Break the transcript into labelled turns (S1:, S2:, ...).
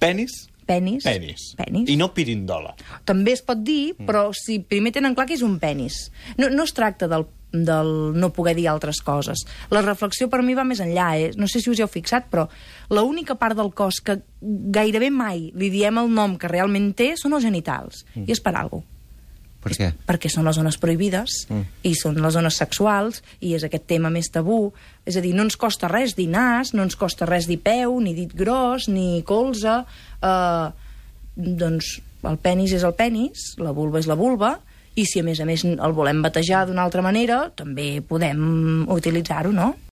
S1: Penis?
S2: Penis.
S1: Penis.
S2: Penis.
S1: I no Mm. pirindola.
S2: També es pot dir, però si primer tenen clar que és un penis. No, no es tracta del, del no poder dir altres coses. La reflexió per mi va més enllà. Eh? No sé si us hi heu fixat, però l'única part del cos que gairebé mai li diem el nom que realment té són els genitals. Mm. I és per alguna
S3: Per què?
S2: perquè són les zones prohibides mm. i són les zones sexuals i és aquest tema més tabú. És a dir, no ens costa res dir nas, no ens costa res dir peu, ni dit gros, ni colze. Eh, doncs el penis és el penis, la vulva és la vulva, i si a més a més el volem batejar d'una altra manera, també podem utilitzar-ho, no?